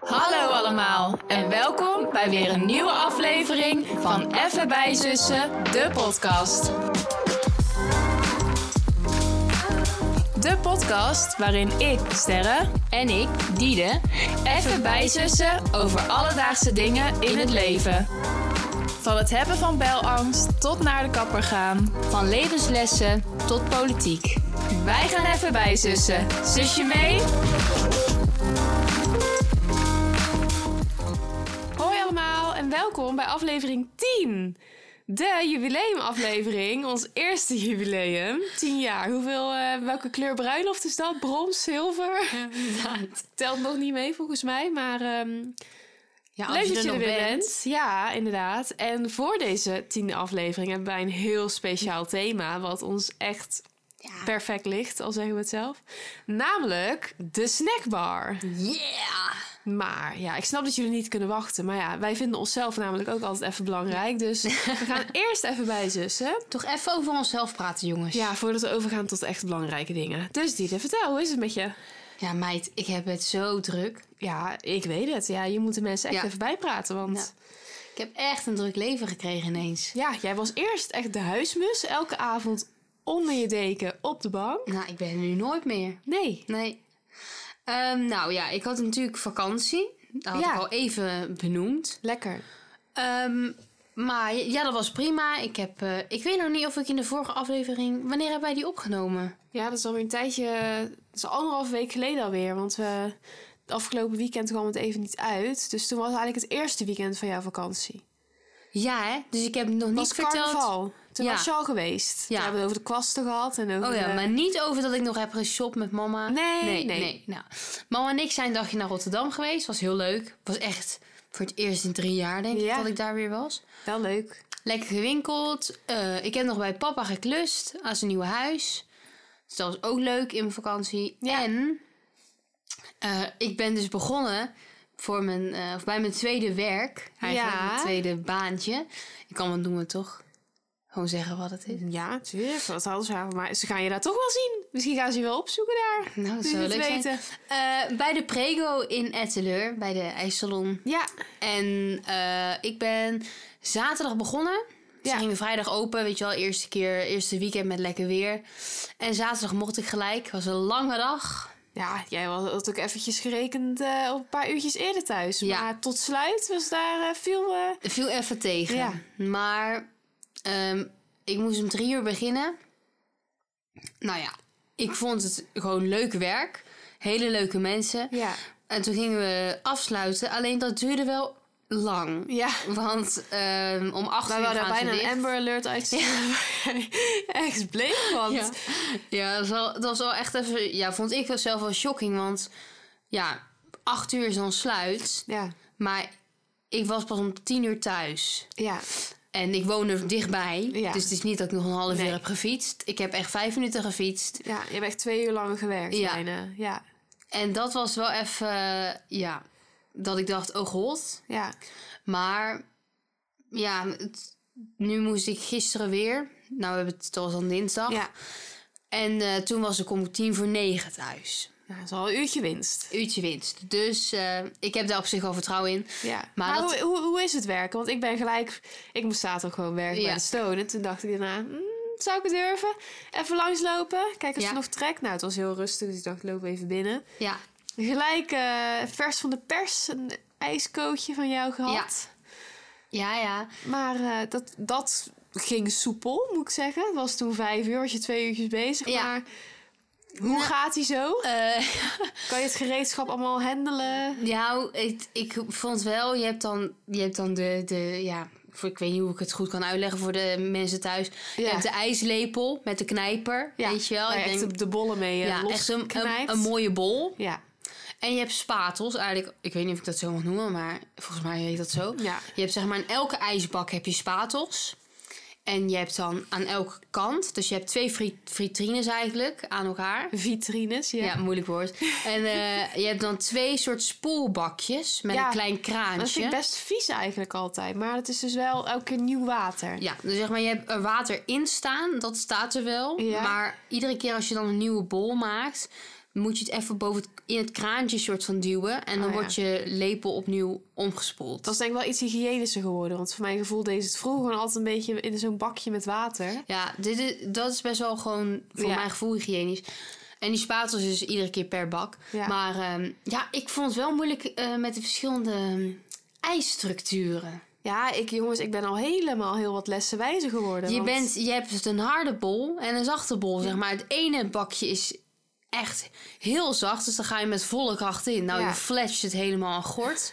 Hallo allemaal en welkom bij weer een nieuwe aflevering van Even bij Zussen, de podcast. De podcast waarin ik, Sterre, en ik, Diede, even bijzussen over alledaagse dingen in het leven. Van het hebben van belangst tot naar de kapper gaan, van levenslessen tot politiek. Wij gaan even bijzussen. Zus je mee? Hoi allemaal en welkom bij aflevering 10. De jubileumaflevering, ons eerste jubileum. 10 jaar. Hoeveel, eh, welke kleur bruiloft is dat? Brons, zilver? Ja, inderdaad. Telt nog niet mee volgens mij, maar ehm, Ja, leuk dat je er weer bent. Ja, inderdaad. En voor deze tiende aflevering hebben wij een heel speciaal thema, wat ons echt Ja. perfect ligt, al zeggen we het zelf. Namelijk de snackbar. Yeah! Maar ja, ik snap dat jullie niet kunnen wachten. Maar ja, wij vinden onszelf namelijk ook altijd even belangrijk. Dus we gaan eerst even bijzussen. Toch even over onszelf praten, jongens. Ja, voordat we overgaan tot echt belangrijke dingen. Dus Diede, vertel, hoe is het met je? Ja, meid, ik heb het zo druk. Ja, ik weet het. Ja, je moet de mensen echt Ja. even bijpraten. Want Ik heb echt een druk leven gekregen ineens. ja. jij was eerst echt de huismus. Elke avond onder je deken op de bank. Nou, ik ben er nu nooit meer. Nee. Nee. Ehm, nou ja, ik had natuurlijk vakantie. Dat had Ja. ik al even benoemd. Lekker. Ehm, maar ja, dat was prima. Ik, heb, eh, ik weet nog niet of ik in de vorige aflevering... Wanneer hebben wij die opgenomen? Ja, dat is alweer een tijdje... Dat is anderhalf week geleden alweer. Want we, het afgelopen weekend kwam het even niet uit. Dus toen was eigenlijk het eerste weekend van jouw vakantie. Ja, hè? Dus ik heb nog niet was verteld... carnaval. Toen Ja. was je al geweest. Toen Ja. hebben we het over de kwasten gehad. En over Oh ja, de- maar niet over dat ik nog heb geshopt met mama. Nee, nee. nee. Nou, mama en ik zijn een dagje naar Rotterdam geweest. Was heel leuk. Was echt voor het eerst in drie jaar, denk Ja. ik, dat ik daar weer was. Wel leuk. Lekker gewinkeld. Eh, ik heb nog bij papa geklust aan zijn nieuwe huis. Dus dat was ook leuk in mijn vakantie. Ja. En eh, ik ben dus begonnen voor mijn, eh, of bij mijn tweede werk. Eigenlijk Ja. mijn tweede baantje. Ik kan wat noemen, toch? Gewoon zeggen wat het is. Ja, tuurlijk. Dat hadden ze haar. Maar ze gaan je daar toch wel zien. Misschien gaan ze je wel opzoeken daar. Nou, dat Nu zou je het leuk zijn. weten. Eh, bij de Prego in Etteleur, bij de ijssalon. Ja. En eh, ik ben zaterdag begonnen. Ze Ja. gingen vrijdag open, weet je wel, eerste keer, eerste weekend met lekker weer. En zaterdag mocht ik gelijk, was een lange dag. Ja, jij was- had ook eventjes gerekend eh, op een paar uurtjes eerder thuis. Ja. Maar tot sluit was daar eh, veel... eh, Het viel even tegen. Ja. Maar ehm, ik moest om drie uur beginnen. Nou ja, ik vond het gewoon leuk werk. Hele leuke mensen. Ja. En toen gingen we afsluiten, alleen dat duurde wel lang. Ja. Want ehm, om acht Wij uur waren daar gaan ze bijna een dicht. Amber Alert uitgestuurd. waar jij Echt bleef, want... Ja, ja dat, was wel, dat was wel echt even... Ja, vond ik wel zelf wel shocking. Want ja, acht uur is dan sluit. Ja. Maar ik was pas om tien uur thuis. Ja. En ik woon er dichtbij. Ja. Dus het is niet dat ik nog een half Nee. uur heb gefietst. Ik heb echt vijf minuten gefietst. ja. Je hebt echt twee uur lang gewerkt Ja. bijna. Ja. En dat was wel even... eh, Ja, dat ik dacht, oh god. Ja. Maar ja, het- nu moest ik gisteren weer... Nou, we hebben het, dat was dan dinsdag. Ja. En eh, toen was ik om tien voor negen thuis. Nou, dat is al een uurtje winst. uurtje winst. Dus eh, ik heb daar op zich wel vertrouwen in. Ja, maar, Maar dat- hoe, hoe, hoe is het werken? Want ik ben gelijk... Ik moest zaterdag gewoon werken bij Ja. de Stone. En toen dacht ik daarna... hmm, zou ik het durven? Even langslopen. Kijken of Ja. ze nog trekt. Nou, het was heel rustig. Dus ik dacht, loop even binnen. Ja, Gelijk eh, vers van de pers. Een ijskootje van jou gehad. ja, ja. Maar eh, dat, dat ging soepel, moet ik zeggen. Het was toen vijf uur. Was je twee uurtjes bezig. Ja. Maar hoe Nou, gaat die zo? Eh, Kan je het gereedschap allemaal handelen? ja, nou, ik, ik vond wel, je hebt dan, je hebt dan de, de, ja, voor, ik weet niet hoe ik het goed kan uitleggen voor de mensen thuis. Je Ja. hebt de ijslepel met de knijper, Ja, weet je wel. waar je Ik echt denk- de- de bollen mee eh, ja, echt een, een, losknijpt. een mooie bol. Ja, En je hebt spatels, eigenlijk, ik weet niet of ik dat zo mag noemen, maar volgens mij heet dat zo. ja. Je hebt zeg maar in elke ijsbak heb je spatels. En je hebt dan aan elke kant, dus je hebt twee fri- vitrines eigenlijk aan elkaar. Vitrines, Ja, ja. moeilijk woord. En eh, je hebt dan twee soort spoelbakjes met Ja, een klein Maar dat kraantje. vind ik best vies eigenlijk altijd. Maar het is dus wel elke keer nieuw water. Ja, dus zeg maar, je hebt er water in staan, dat staat er wel. Ja. Maar iedere keer als je dan een nieuwe bol maakt, moet je het even boven het, in het kraantje soort van duwen. En dan Oh, ja. wordt je lepel opnieuw omgespoeld. Dat is denk ik wel iets hygiënischer geworden. Want voor mijn gevoel deed ze het vroeger gewoon altijd een beetje in zo'n bakje met water. Ja, dit is, dat is best wel gewoon voor Ja. mijn gevoel hygiënisch. En die spatels is iedere keer per bak. Ja. Maar ehm, ja, ik vond het wel moeilijk eh, met de verschillende ehm, ijsstructuren. Ja, ik, jongens, ik ben al helemaal heel wat lessen wijzer geworden. Je, want- bent, je hebt dus een harde bol en een zachte bol, zeg maar. Het ene bakje is echt heel zacht, dus dan ga je met volle kracht in. Nou, Ja. je flasht het helemaal aan gort.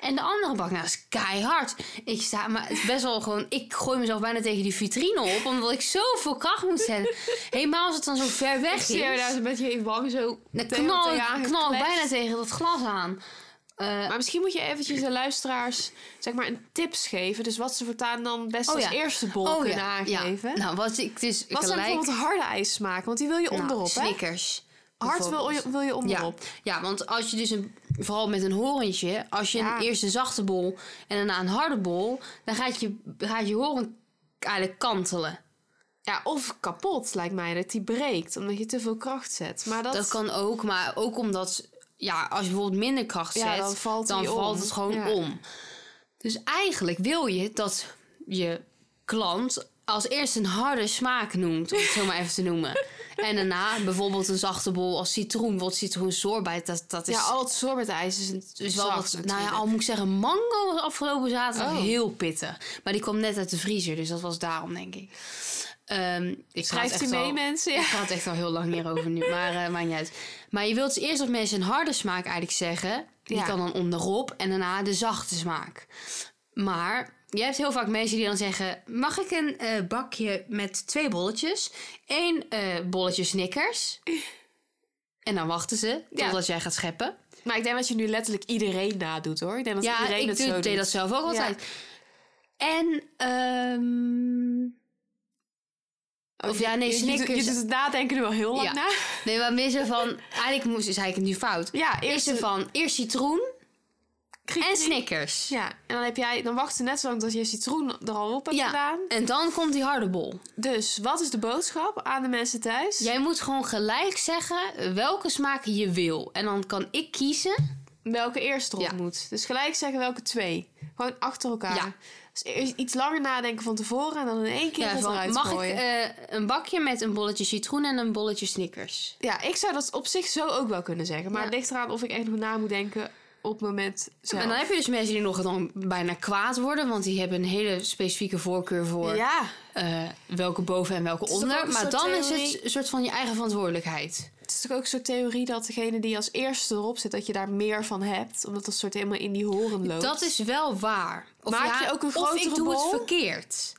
En de andere bak, nou, is keihard. Ik sta, maar het is best wel gewoon... Ik gooi mezelf bijna tegen die vitrine op, omdat ik zoveel kracht moet zetten. Helemaal als het dan zo ver Ik weg zie jou daar is. een beetje even bang zo. Dan tegen- knal ik, tegenaan knal ik gekletst. bijna tegen dat glas aan. Eh, Maar misschien moet je eventjes de luisteraars zeg maar een tips geven. Dus wat ze voortaan dan best Oh als ja. eerste bol oh kunnen ja, ja. aangeven. Nou, wat ik dus Wat zijn gelijk... bijvoorbeeld harde ijssmaken? Want die wil je Nou, onderop, hè? Snickers. Hard wil bijvoorbeeld. je, wil je onderop. Ja, want als je dus een, vooral met een horentje, als je Ja. een, eerst een zachte bol en daarna een harde bol, dan gaat je, gaat je horen eigenlijk kantelen. Ja. of kapot lijkt mij dat die breekt omdat je te veel kracht zet. Maar dat, Dat, kan ook, maar ook omdat, ja, als je bijvoorbeeld minder kracht zet, Ja, dan valt dan die om. valt het gewoon Ja. om. Dus eigenlijk wil je dat je klant als eerst een harde smaak noemt, om het zo maar even te noemen. En daarna bijvoorbeeld een zachte bol als citroen, bijvoorbeeld citroensorbijt, dat, dat is ja, al het sorbetijs is een Dus wel zacht wat, nou natuurlijk. ja, al moet ik zeggen, mango was afgelopen zaterdag Oh. heel pittig. Maar die kwam net uit de vriezer, dus dat was daarom, denk ik. Ehm ik Schrijft praat u echt mee, al, mensen? Ja. Ik praat echt al heel lang hierover nu, maar eh maakt niet uit. Maar je wilt dus eerst dat mensen een harde smaak eigenlijk zeggen. Die Ja. kan dan onderop en daarna de zachte smaak. Maar je hebt heel vaak mensen die dan zeggen... Mag ik een eh, bakje met twee bolletjes? Eén eh, bolletje Snickers. En dan wachten ze Ja. totdat jij gaat scheppen. Maar ik denk dat je nu letterlijk iedereen nadoet, hoor. Ik denk dat Ja, iedereen ik het doe, zo deed doet. dat zelf ook Ja. altijd. En, ehm, Oh, of je- ja, nee, je- je doet- Je, Snickers. doet het nadenken nu al heel lang Ja. na. nee, maar meer zo van, eigenlijk moest, is eigenlijk nu fout. Ja, Eerst eerst zo van, eerst citroen Kriek- en Snickers. Ja, en dan, heb jij, dan wacht je net zo lang dat je citroen er al op hebt Ja, gedaan. en dan komt die harde bol. Dus, wat is de boodschap aan de mensen thuis? Jij moet gewoon gelijk zeggen welke smaak je wil. En dan kan ik kiezen. Welke eerst erop Ja. moet. Dus gelijk zeggen welke twee. Gewoon achter elkaar. Ja. Dus eerst iets langer nadenken van tevoren en dan in één keer Ja, het van, eruit mag ik gooien. eh, een bakje met een bolletje citroen en een bolletje Snickers? Ja, ik zou dat op zich zo ook wel kunnen zeggen. Maar Ja. het ligt eraan of ik echt nog na moet denken op het moment zelf. En dan heb je dus mensen die nog dan bijna kwaad worden, want die hebben een hele specifieke voorkeur voor Ja, eh, welke boven en welke is toch ook onder. een Maar soort dan is theorie? het een soort van je eigen verantwoordelijkheid. het is toch ook zo'n theorie dat degene die als eerste erop zit, dat je daar meer van hebt. Omdat dat soort helemaal in die horen loopt. Dat is wel waar. Of Maak je ook een Of ik grotere doe het bol? verkeerd.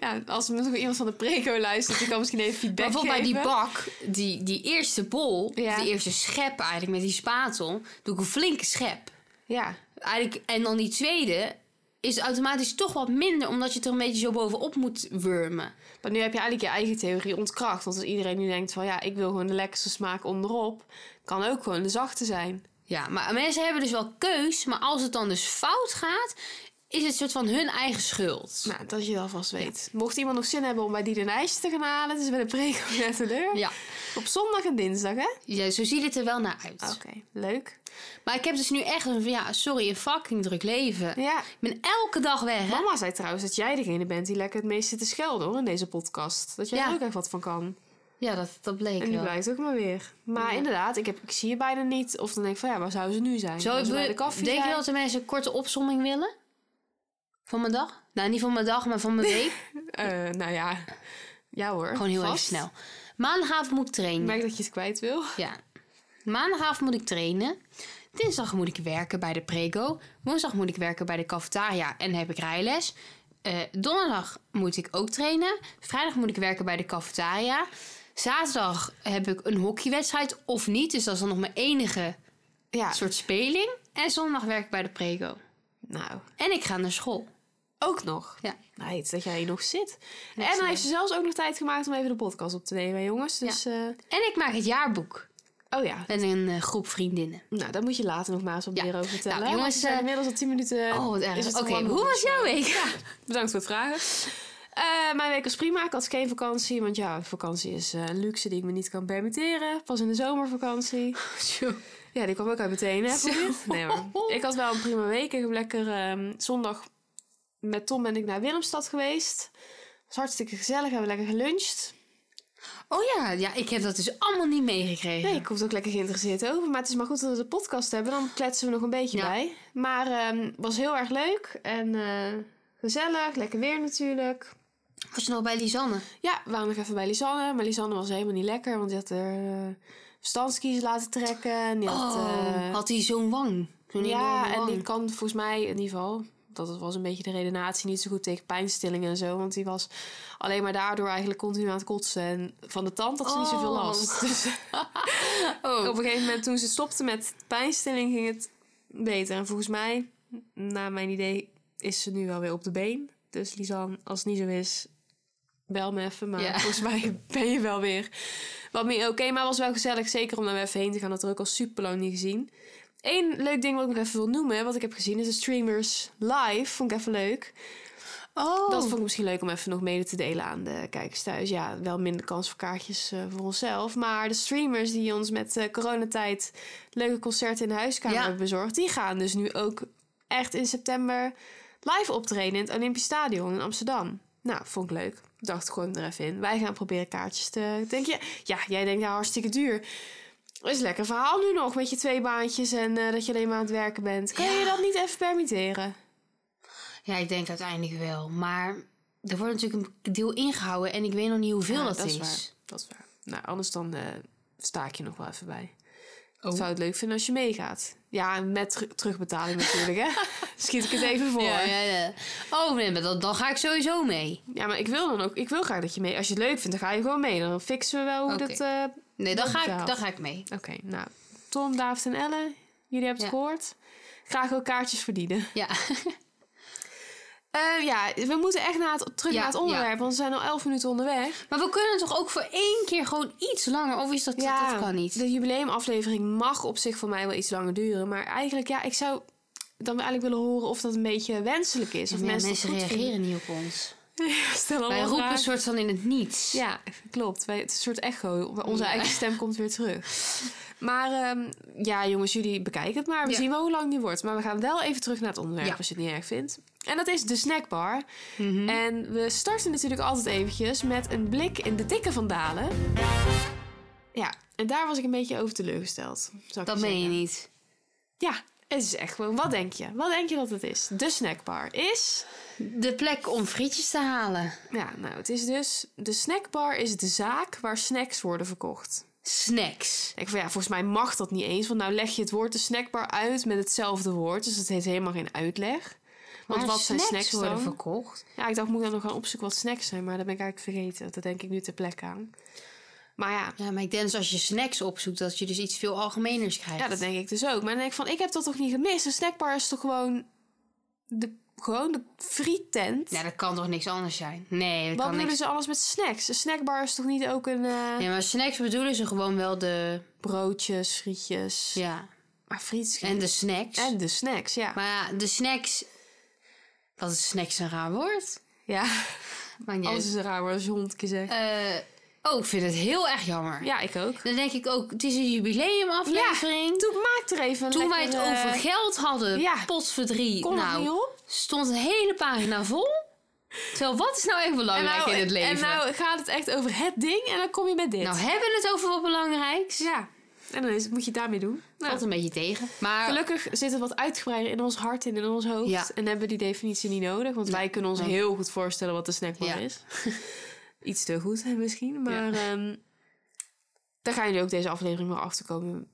Ja, als er misschien iemand van de preco luistert, die kan misschien even feedback Bijvoorbeeld bij geven. die bak, die, die eerste bol, Ja. die eerste schep eigenlijk met die spatel, doe ik een flinke schep. Ja, Eigenlijk, en dan die tweede is automatisch toch wat minder, omdat je het er een beetje zo bovenop moet wurmen. maar nu heb je eigenlijk je eigen theorie ontkracht. Want als iedereen nu denkt van ja, ik wil gewoon de lekkerste smaak onderop, kan ook gewoon de zachte zijn. Ja, maar mensen hebben dus wel keus, maar als het dan dus fout gaat, is het soort van hun eigen schuld. Nou, dat je dat vast weet. Mocht iemand nog zin hebben om bij die de ijsje te gaan halen, het is bij de preco net de deur. Ja. Op zondag en dinsdag, hè? ja, zo ziet het er wel naar uit. Oké, leuk. Maar ik heb dus nu echt een, ja, sorry, een fucking druk leven. Ja. Ik ben elke dag weg, hè? Mama zei trouwens dat jij degene bent die lekker het meest zit te schelden hoor, in deze podcast. Dat jij Ja. er ook echt wat van kan. Ja, dat, dat bleek en nu wel. blijkt ook maar weer. Maar inderdaad, ik, heb, ik zie je bijna niet. Of dan denk ik van ja, waar zouden ze nu zijn? Zo, Zou ik ze bij de wil- koffie denk je zijn? wel dat de mensen een korte opsomming willen? Van mijn dag? Nou, niet van mijn dag, maar van mijn week. Eh, nou ja, ja hoor. Gewoon heel vast. even snel. Maandagavond moet ik Ik trainen. merk dat je het kwijt wil. Ja. Maandagavond moet ik trainen. Dinsdag moet ik werken bij de prego. Woensdag moet ik werken bij de cafetaria en heb ik rijles. Eh, donderdag moet ik ook trainen. Vrijdag moet ik werken bij de cafetaria. Zaterdag heb ik een hockeywedstrijd of niet. Dus dat is dan nog mijn enige Ja, soort speling. En zondag werk ik bij de prego. nou, En ik ga naar school. ook nog. Ja. Nee, dat jij hier nog zit. Niks en dan mee. heeft ze zelfs ook nog tijd gemaakt om even de podcast op te nemen, jongens. Dus, eh, En ik maak het jaarboek oh ja. met een eh, groep vriendinnen. Nou, daar moet je later nog maar eens wat Ja. meer over vertellen. Nou, jongens, want we zijn eh, inmiddels al 10 minuten. oh, wat is erg. het Oké, gewoon hoe was jouw week? Bedankt voor het vragen. Eh, mijn week was prima. Ik had geen vakantie. Want ja, vakantie is eh, een luxe die ik me niet kan permitteren. Pas in de zomervakantie. Ja, die kwam ook uit meteen, hè? voor dit? Nee, maar ik had wel een prima week. Ik heb lekker ehm, zondag met Tom ben ik naar Willemstad geweest. was hartstikke gezellig. Hebben we lekker geluncht. Oh ja, ja, ik heb dat dus allemaal niet meegekregen. Nee, ik kom er ook lekker geïnteresseerd over. Maar het is maar goed dat we de podcast hebben. Dan kletsen we nog een beetje Ja. bij. Maar ehm was heel erg leuk. En eh, gezellig. Lekker weer natuurlijk. Was je nog bij Lisanne? Ja, we waren nog even bij Lisanne. Maar Lisanne was helemaal niet lekker. Want die had haar eh, verstandskies laten trekken. En die had... Oh. eh, had hij zo'n wang? Zo'n ja, enorme en wang. die kan volgens mij in ieder geval... Dat was een beetje de redenatie niet zo goed tegen pijnstillingen en zo. Want die was alleen maar daardoor eigenlijk continu aan het kotsen. En van de tand had ze niet zoveel Oh. last. Dus Oh. op een gegeven moment toen ze stopte met pijnstilling ging het beter. En volgens mij, naar mijn idee, is ze nu wel weer op de been. Dus Lisanne, als het niet zo is, bel me even. Maar Ja. volgens mij ben je wel weer wat meer oké. maar was wel gezellig, zeker om daar weer even heen te gaan. Dat had ik ook al super lang niet gezien. Eén leuk ding wat ik nog even wil noemen, wat ik heb gezien, is de streamers live. Vond ik even leuk. oh. Dat vond ik misschien leuk om even nog mede te delen aan de kijkers thuis. Ja, wel minder kans voor kaartjes eh, voor onszelf. Maar de streamers die ons met eh, coronatijd leuke concerten in de huiskamer Ja. hebben bezorgd... die gaan dus nu ook echt in september live optreden in het Olympisch Stadion in Amsterdam. Nou, vond ik leuk. Ik dacht, gooi hem er even in. Wij gaan proberen kaartjes te... Denk je, ja, jij denkt, ja, hartstikke duur. Dat is een lekker verhaal nu nog, met je twee baantjes en eh, dat je alleen maar aan het werken bent. Kun je Ja. dat niet even permitteren? Ja, ik denk uiteindelijk wel. Maar er wordt natuurlijk een deel ingehouden en ik weet nog niet hoeveel Ja, dat, dat is is. waar. Dat is waar. Nou, anders dan eh, sta ik je nog wel even bij. Oh. Ik zou het leuk vinden als je meegaat. Ja, en met teru- terugbetaling natuurlijk, hè. Schiet ik het even voor. Ja, Ja, ja, ja. Oh, nee, maar dan, dan ga ik sowieso mee. maar ik wil dan ook... Ik wil graag dat je mee... Als je het leuk vindt, dan ga je gewoon mee. Dan fixen we wel hoe Oké. dat... eh, Nee, dan Dat ga, betaalt. ik, dan ga ik mee. Oké, nou. Tom, David en Ellen, jullie hebben het Ja. gehoord. Graag ook kaartjes verdienen. Ja. Eh, ja, we moeten echt naar het, terug Ja, naar het ja. onderwerp, want we zijn al elf minuten onderweg. Maar we kunnen toch ook voor één keer gewoon iets langer? Of is dat, dat kan niet? De jubileumaflevering mag op zich voor mij wel iets langer duren. Maar eigenlijk, ja, ik zou dan eigenlijk willen horen of dat een beetje wenselijk is. Of Ja, mensen, mensen dat goed reageren niet op ons. vinden. Stel allemaal Wij roepen een vragen. soort van in het niets. Ja, klopt. Wij, het is een soort echo. Onze Ja. eigen stem komt weer terug. Maar ehm, ja, jongens, jullie bekijken het maar. We Ja. zien wel hoe lang die wordt. Maar we gaan wel even terug naar het onderwerp, Ja. als je het niet erg vindt. En dat is de snackbar. Mhm. En we starten natuurlijk altijd eventjes met een blik in de dikke van Dalen. Ja, en daar was ik een beetje over teleurgesteld. zou ik Dat meen je zeggen. niet. Ja, het is echt gewoon. Wat denk je? Wat denk je dat het is? De snackbar is. De plek om frietjes te halen. Ja, nou, het is dus. De snackbar is de zaak waar snacks worden verkocht. Snacks. Ik van ja, volgens mij mag dat niet eens. Want nou leg je het woord de snackbar uit met hetzelfde woord. Dus het heeft helemaal geen uitleg. Want Maar wat zijn snacks worden dan? verkocht? Ja, ik dacht, moet ik dan nog gaan opzoeken wat snacks zijn. Maar dat ben ik eigenlijk vergeten. Dat denk ik nu ter plekke aan. Maar ja, Ja, maar ik denk dus als je snacks opzoekt, dat je dus iets veel algemeners krijgt. ja, dat denk ik dus ook. Maar dan denk ik van, ik heb dat toch niet gemist? Een snackbar is toch gewoon de, gewoon de frietent? Ja, dat kan toch niks anders zijn? Nee, dat Wat kan bedoelen niks. ze alles met snacks? Een snackbar is toch niet ook een eh, Ja, maar snacks bedoelen ze gewoon wel de... broodjes, frietjes, Ja, maar frietjes en de snacks. en de snacks, ja. Maar ja, de snacks... Wat is snacks een raar woord? ja, Maakt niet alles uit. is een raar woord als je honderd keer zegt. Eh, oh, ik vind het heel erg jammer. ja, ik ook. Dan denk ik ook, het is een jubileumaflevering. Toen maak er even een Toen wij het lekker, eh, over geld hadden, ja. potverdrie. Kon er Nou, niet op. stond een hele pagina vol. Terwijl, wat is nou echt belangrijk in het leven? en nou gaat het echt over het ding en dan kom je met dit. Nou, hebben we het over wat belangrijks? ja, en dan is, moet je het daarmee doen. Nou, Valt een beetje tegen. Maar Gelukkig zit het wat uitgebreider in ons hart en in ons hoofd. Ja. En hebben we die definitie niet nodig. Want wij kunnen ons Ja. heel goed voorstellen wat de snackbar Ja. is. Iets te goed hè, misschien. Maar ehm, daar gaan jullie ook deze aflevering wel achter komen.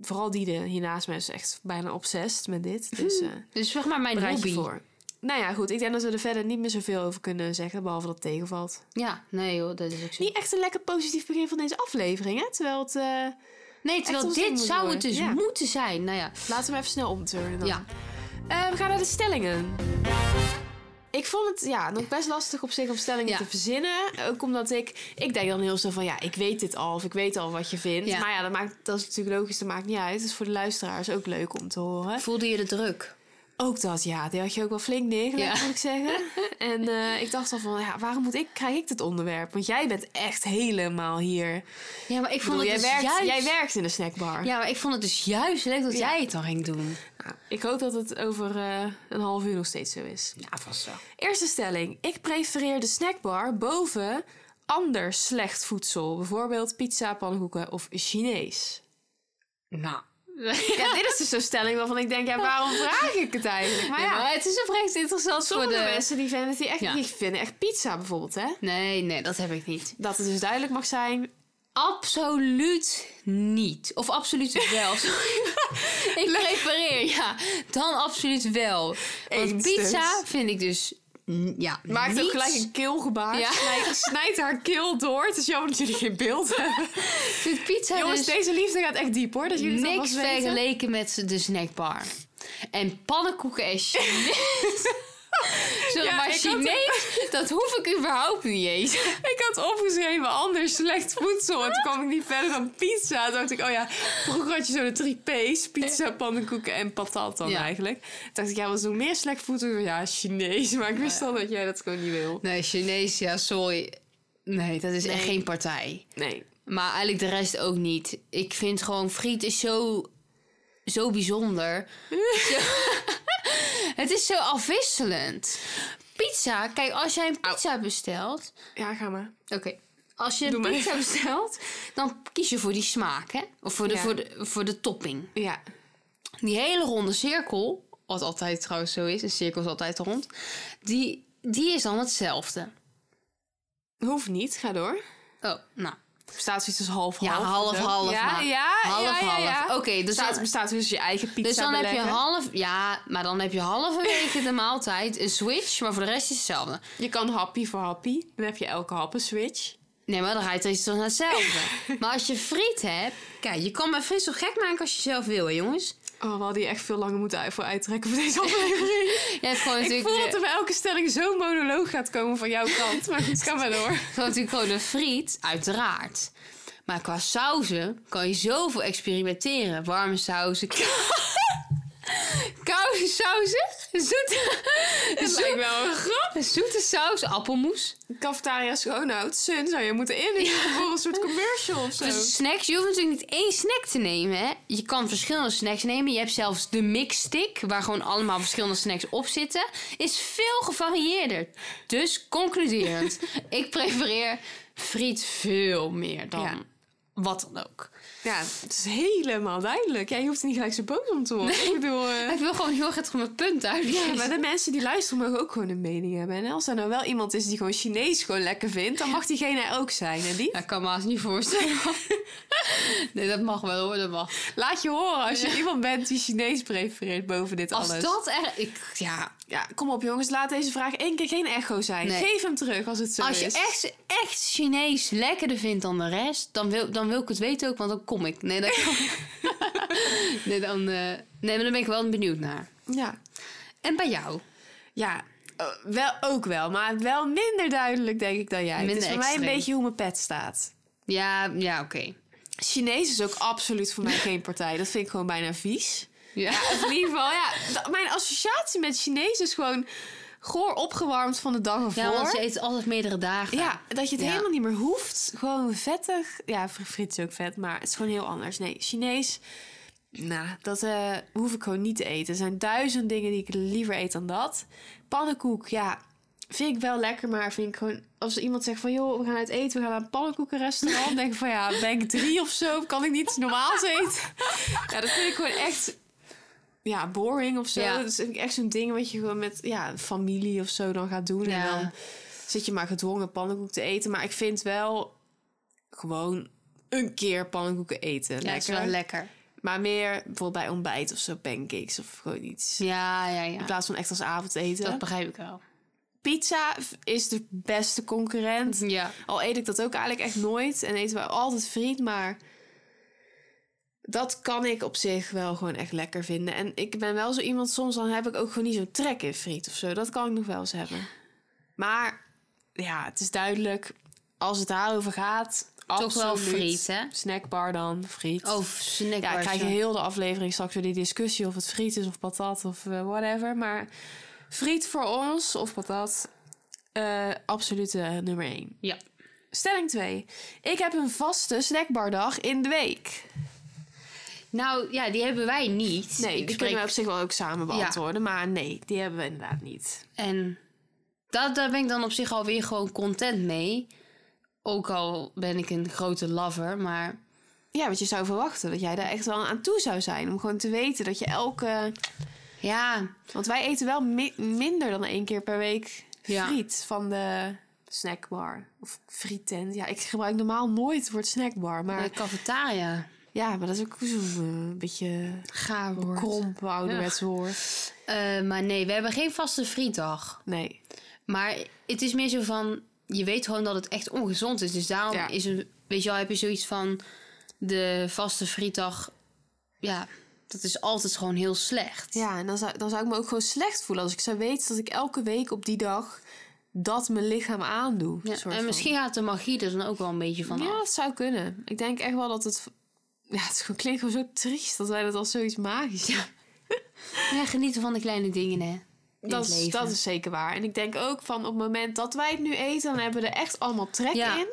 Vooral die de hiernaast me is echt bijna obsessed met dit. Dus eh dus zeg maar mijn bereid hobby. je voor. Nou ja, goed. Ik denk dat we er verder niet meer zoveel over kunnen zeggen. Behalve dat het tegenvalt. Ja, nee joh, dat is ook zo. Niet echt een lekker positief begin van deze aflevering. Hè? Terwijl het... eh, Nee, terwijl ons ding dit moet zou worden. het dus Ja. moeten zijn. Nou ja, Laten we hem even snel omturnen dan. ja. Eh, we gaan naar de stellingen. Ik vond het ja, nog best lastig op zich om stellingen Ja. te verzinnen. Ook omdat ik... Ik denk dan heel snel van... Ja, ik weet dit al. Of ik weet al wat je vindt. Ja. Maar ja, dat, maakt, dat is natuurlijk logisch. Dat maakt niet uit. Het is voor de luisteraars ook leuk om te horen. voelde je de druk? Ook dat, ja. Die had je ook wel flink neergelegd, Ja. moet ik zeggen. En eh, ik dacht al van, ja, waarom moet ik, krijg ik dit onderwerp? Want jij bent echt helemaal hier. Ik Ja, maar ik vond bedoel, het jij, dus werkt, juist... jij werkt in de snackbar. Ja, maar ik vond het dus juist leuk dat Ja. jij het dan ging doen. Nou, ik hoop dat het over eh, een half uur nog steeds zo is. Ja, vast wel. Eerste stelling. Ik prefereer de snackbar boven ander slecht voedsel. Bijvoorbeeld pizza, pannenkoeken of Chinees. Nou. Ja, dit is dus zo'n stelling waarvan ik denk, ja, waarom vraag ik het eigenlijk? Maar Nee, ja, maar het is oprecht interessant voor sommige de... mensen die vinden, het die echt, Ja. die vinden echt pizza bijvoorbeeld, hè? Nee, nee, dat heb ik niet. Dat het dus duidelijk mag zijn. Absoluut niet. Of absoluut wel. Sorry. ik prefereer, ja. Dan absoluut wel. Want Eens pizza dus. vind ik dus... mm, Ja, Maakt ook niets. gelijk een keelgebaar. Ja. Snijdt, snijdt haar keel door. Het is jammer dat jullie geen beeld hebben. Ik vind pizza Jongens, dus deze liefde gaat echt diep hoor. Dat jullie het niks alvast weten. vergeleken met de snackbar. En pannenkoeken en Chinees. Sorry, Ja, maar ik had het- Chinees, dat hoef ik überhaupt niet eens. Ik had opgeschreven anders slecht voedsel. En toen kwam ik niet verder dan pizza. Toen dacht ik, oh ja, vroeger had je zo de drie P's. Pizza, pannenkoeken en patat dan Ja. eigenlijk. Toen dacht ik, ja, wat is nog meer slecht voedsel? Ja, Chinees. Maar ik wist al dat jij dat gewoon niet wil. Nee, Chinees, ja, sorry. Nee, dat is echt Nee. geen partij. Nee. Maar eigenlijk de rest ook niet. Ik vind gewoon friet is zo, zo bijzonder. Zo- het is zo afwisselend. Pizza, kijk, als jij een pizza bestelt. Ja, ga maar. Oké. Als je Doe een maar. pizza bestelt, dan kies je voor die smaak, hè? Of voor de, Ja. voor, de, voor de topping. Ja. Die hele ronde cirkel, wat altijd trouwens zo is, een cirkel is altijd rond, die, die is dan hetzelfde. Hoeft niet, ga door. Oh, nou. Er Bestaat zoiets als half-half? Ja, half-half, Ja, maar- ja, half-half. ja, ja, ja. Oké, dus bestaat, dan- bestaat dus je eigen pizza Dus dan heb je beleggen. half, ja, maar dan heb je halverwege de maaltijd een switch, maar voor de rest is hetzelfde. Je kan happy voor happy. Dan heb je elke hap een switch. Nee, maar dan ga je het toch naar hetzelfde. maar als je friet hebt, kijk, je kan bij friet zo gek maken als je zelf wil, hè, jongens. Oh, we hadden hier echt veel langer moeten uit- voor uittrekken voor deze aflevering. Je hebt gewoon Dus Ik natuurlijk, voel dat de, er bij elke stelling zo'n monoloog gaat komen van jouw kant. Maar goed, kan maar door. gewoon natuurlijk gewoon de friet, uiteraard. Maar qua sauzen kan je zoveel experimenteren. Warme sauzen, koude sauzen, zoete, lijkt zoete, wel een grap. zoete saus, appelmoes. Cafetaria Schoonhout, Sun zou je moeten in voor een soort commercial of zo. Dus snacks, je hoeft natuurlijk niet één snack te nemen. Hè? Je kan verschillende snacks nemen. Je hebt zelfs de mixstick, waar gewoon allemaal verschillende snacks op zitten. Is veel gevarieerder. Dus concluderend, ik prefereer friet veel meer dan Ja. wat dan ook. Ja, het is helemaal duidelijk. Jij hoeft er niet gelijk zo boos om te worden. Ik bedoel... eh, Ik wil gewoon heel graag mijn punt uit. ja, maar de mensen die luisteren mogen ook gewoon een mening hebben. En als er nou wel iemand is die gewoon Chinees gewoon lekker vindt, dan mag diegene er ook zijn. En die? dat kan me haast niet voorstellen. Nee, dat mag wel hoor, dat mag. Laat je horen als je iemand bent die Chinees prefereert boven dit Als alles. dat er... Ik, ja, Ja, kom op jongens, laat deze vraag één keer geen echo zijn. Nee. Geef hem terug als het zo Als is. je echt, echt Chinees lekkerder vindt dan de rest, dan wil, dan wil ik het weten ook, want dan kom ik. Nee, dat nee, dan, eh, nee, maar dan ben ik wel benieuwd naar. Ja. En bij jou? Ja, eh, wel, ook wel. Maar wel minder duidelijk, denk ik, dan jij. het is Minder voor mij een extreem. beetje hoe mijn pet staat. Ja, ja oké. Chinees is ook absoluut voor mij geen partij. Dat vind ik gewoon bijna vies. Ja. Of in ieder geval, ja. d- Mijn associatie met Chinees is gewoon goor opgewarmd van de dag ervoor. ja, want je eet altijd meerdere dagen. Ja, dat je het Ja. helemaal niet meer hoeft. Gewoon vettig. Ja, fr- friet is ook vet, maar het is gewoon heel anders. Nee, Chinees, nou, dat eh, hoef ik gewoon niet te eten. Er zijn duizend dingen die ik liever eet dan dat. Pannenkoek, ja, vind ik wel lekker, maar vind ik gewoon... Als iemand zegt van, joh, we gaan uit eten, we gaan naar een pannenkoekenrestaurant. dan denk ik van, ja, ben ik drie of zo? Kan ik niet iets normaals eten? Ja, dat vind ik gewoon echt... Ja, boring of zo. Ja. Dat is echt zo'n ding wat je gewoon met ja, familie of zo dan gaat doen. En Ja. dan zit je maar gedwongen pannenkoek te eten. Maar ik vind wel gewoon een keer pannenkoeken eten. Ja, het is wel lekker. Maar meer bijvoorbeeld bij ontbijt of zo, pancakes of gewoon iets. Ja, ja, In ja. plaats van echt als avondeten. Dat begrijp ik wel. Pizza is de beste concurrent. Ja. Al eet ik dat ook eigenlijk echt nooit. En eten we altijd friet, maar... Dat kan ik op zich wel gewoon echt lekker vinden. En ik ben wel zo iemand, soms dan heb ik ook gewoon niet zo'n trek in friet of zo. Dat kan ik nog wel eens hebben. Maar ja, het is duidelijk, als het daarover gaat, Toch wel Absoluut. friet, hè? Snackbar dan, friet. Of snackbar. ja, ik krijg zo. heel de aflevering straks weer die discussie of het friet is of patat of eh, whatever. Maar friet voor ons of patat, eh, absolute nummer één. Ja. Stelling 2. Ik heb een vaste snackbardag in de week. Nou, ja, die hebben wij Nee, niet. die ik kunnen spreek- we op zich wel ook samen Ja. beantwoorden. Maar nee, die hebben we inderdaad niet. En dat, daar ben ik dan op zich alweer gewoon content mee. Ook al ben ik een grote lover, maar... Ja, want je zou verwachten dat jij daar echt wel aan toe zou zijn. Om gewoon te weten dat je elke... Ja, Want wij eten wel mi- minder dan één keer per week Ja. friet van de snackbar. Of frietent. Ja, ik gebruik normaal nooit het woord snackbar. Maar de cafetaria. ja, maar dat is ook zo'n eh, beetje Gaar woord. kromp ouderwets woord. Eh, maar nee, we hebben geen vaste frietdag. Nee. Maar het is meer zo van... Je weet gewoon dat het echt ongezond is. Dus daarom Ja. is een... Weet je wel, heb je zoiets van... De vaste frietdag... Ja, dat is altijd gewoon heel slecht. Ja, en dan zou, dan zou ik me ook gewoon slecht voelen als ik zou weten dat ik elke week op die dag dat mijn lichaam aandoe. Ja, soort en van. misschien gaat de magie er dan ook wel een beetje van Ja, af. dat zou kunnen. Ik denk echt wel dat het. Ja, het gewoon- klinkt gewoon zo triest dat wij dat als zoiets magisch ja, Ja, genieten van de kleine dingen, hè. In dat, het is, leven. dat is zeker waar. En ik denk ook van op het moment dat wij het nu eten, dan hebben we er echt allemaal trek Ja. in.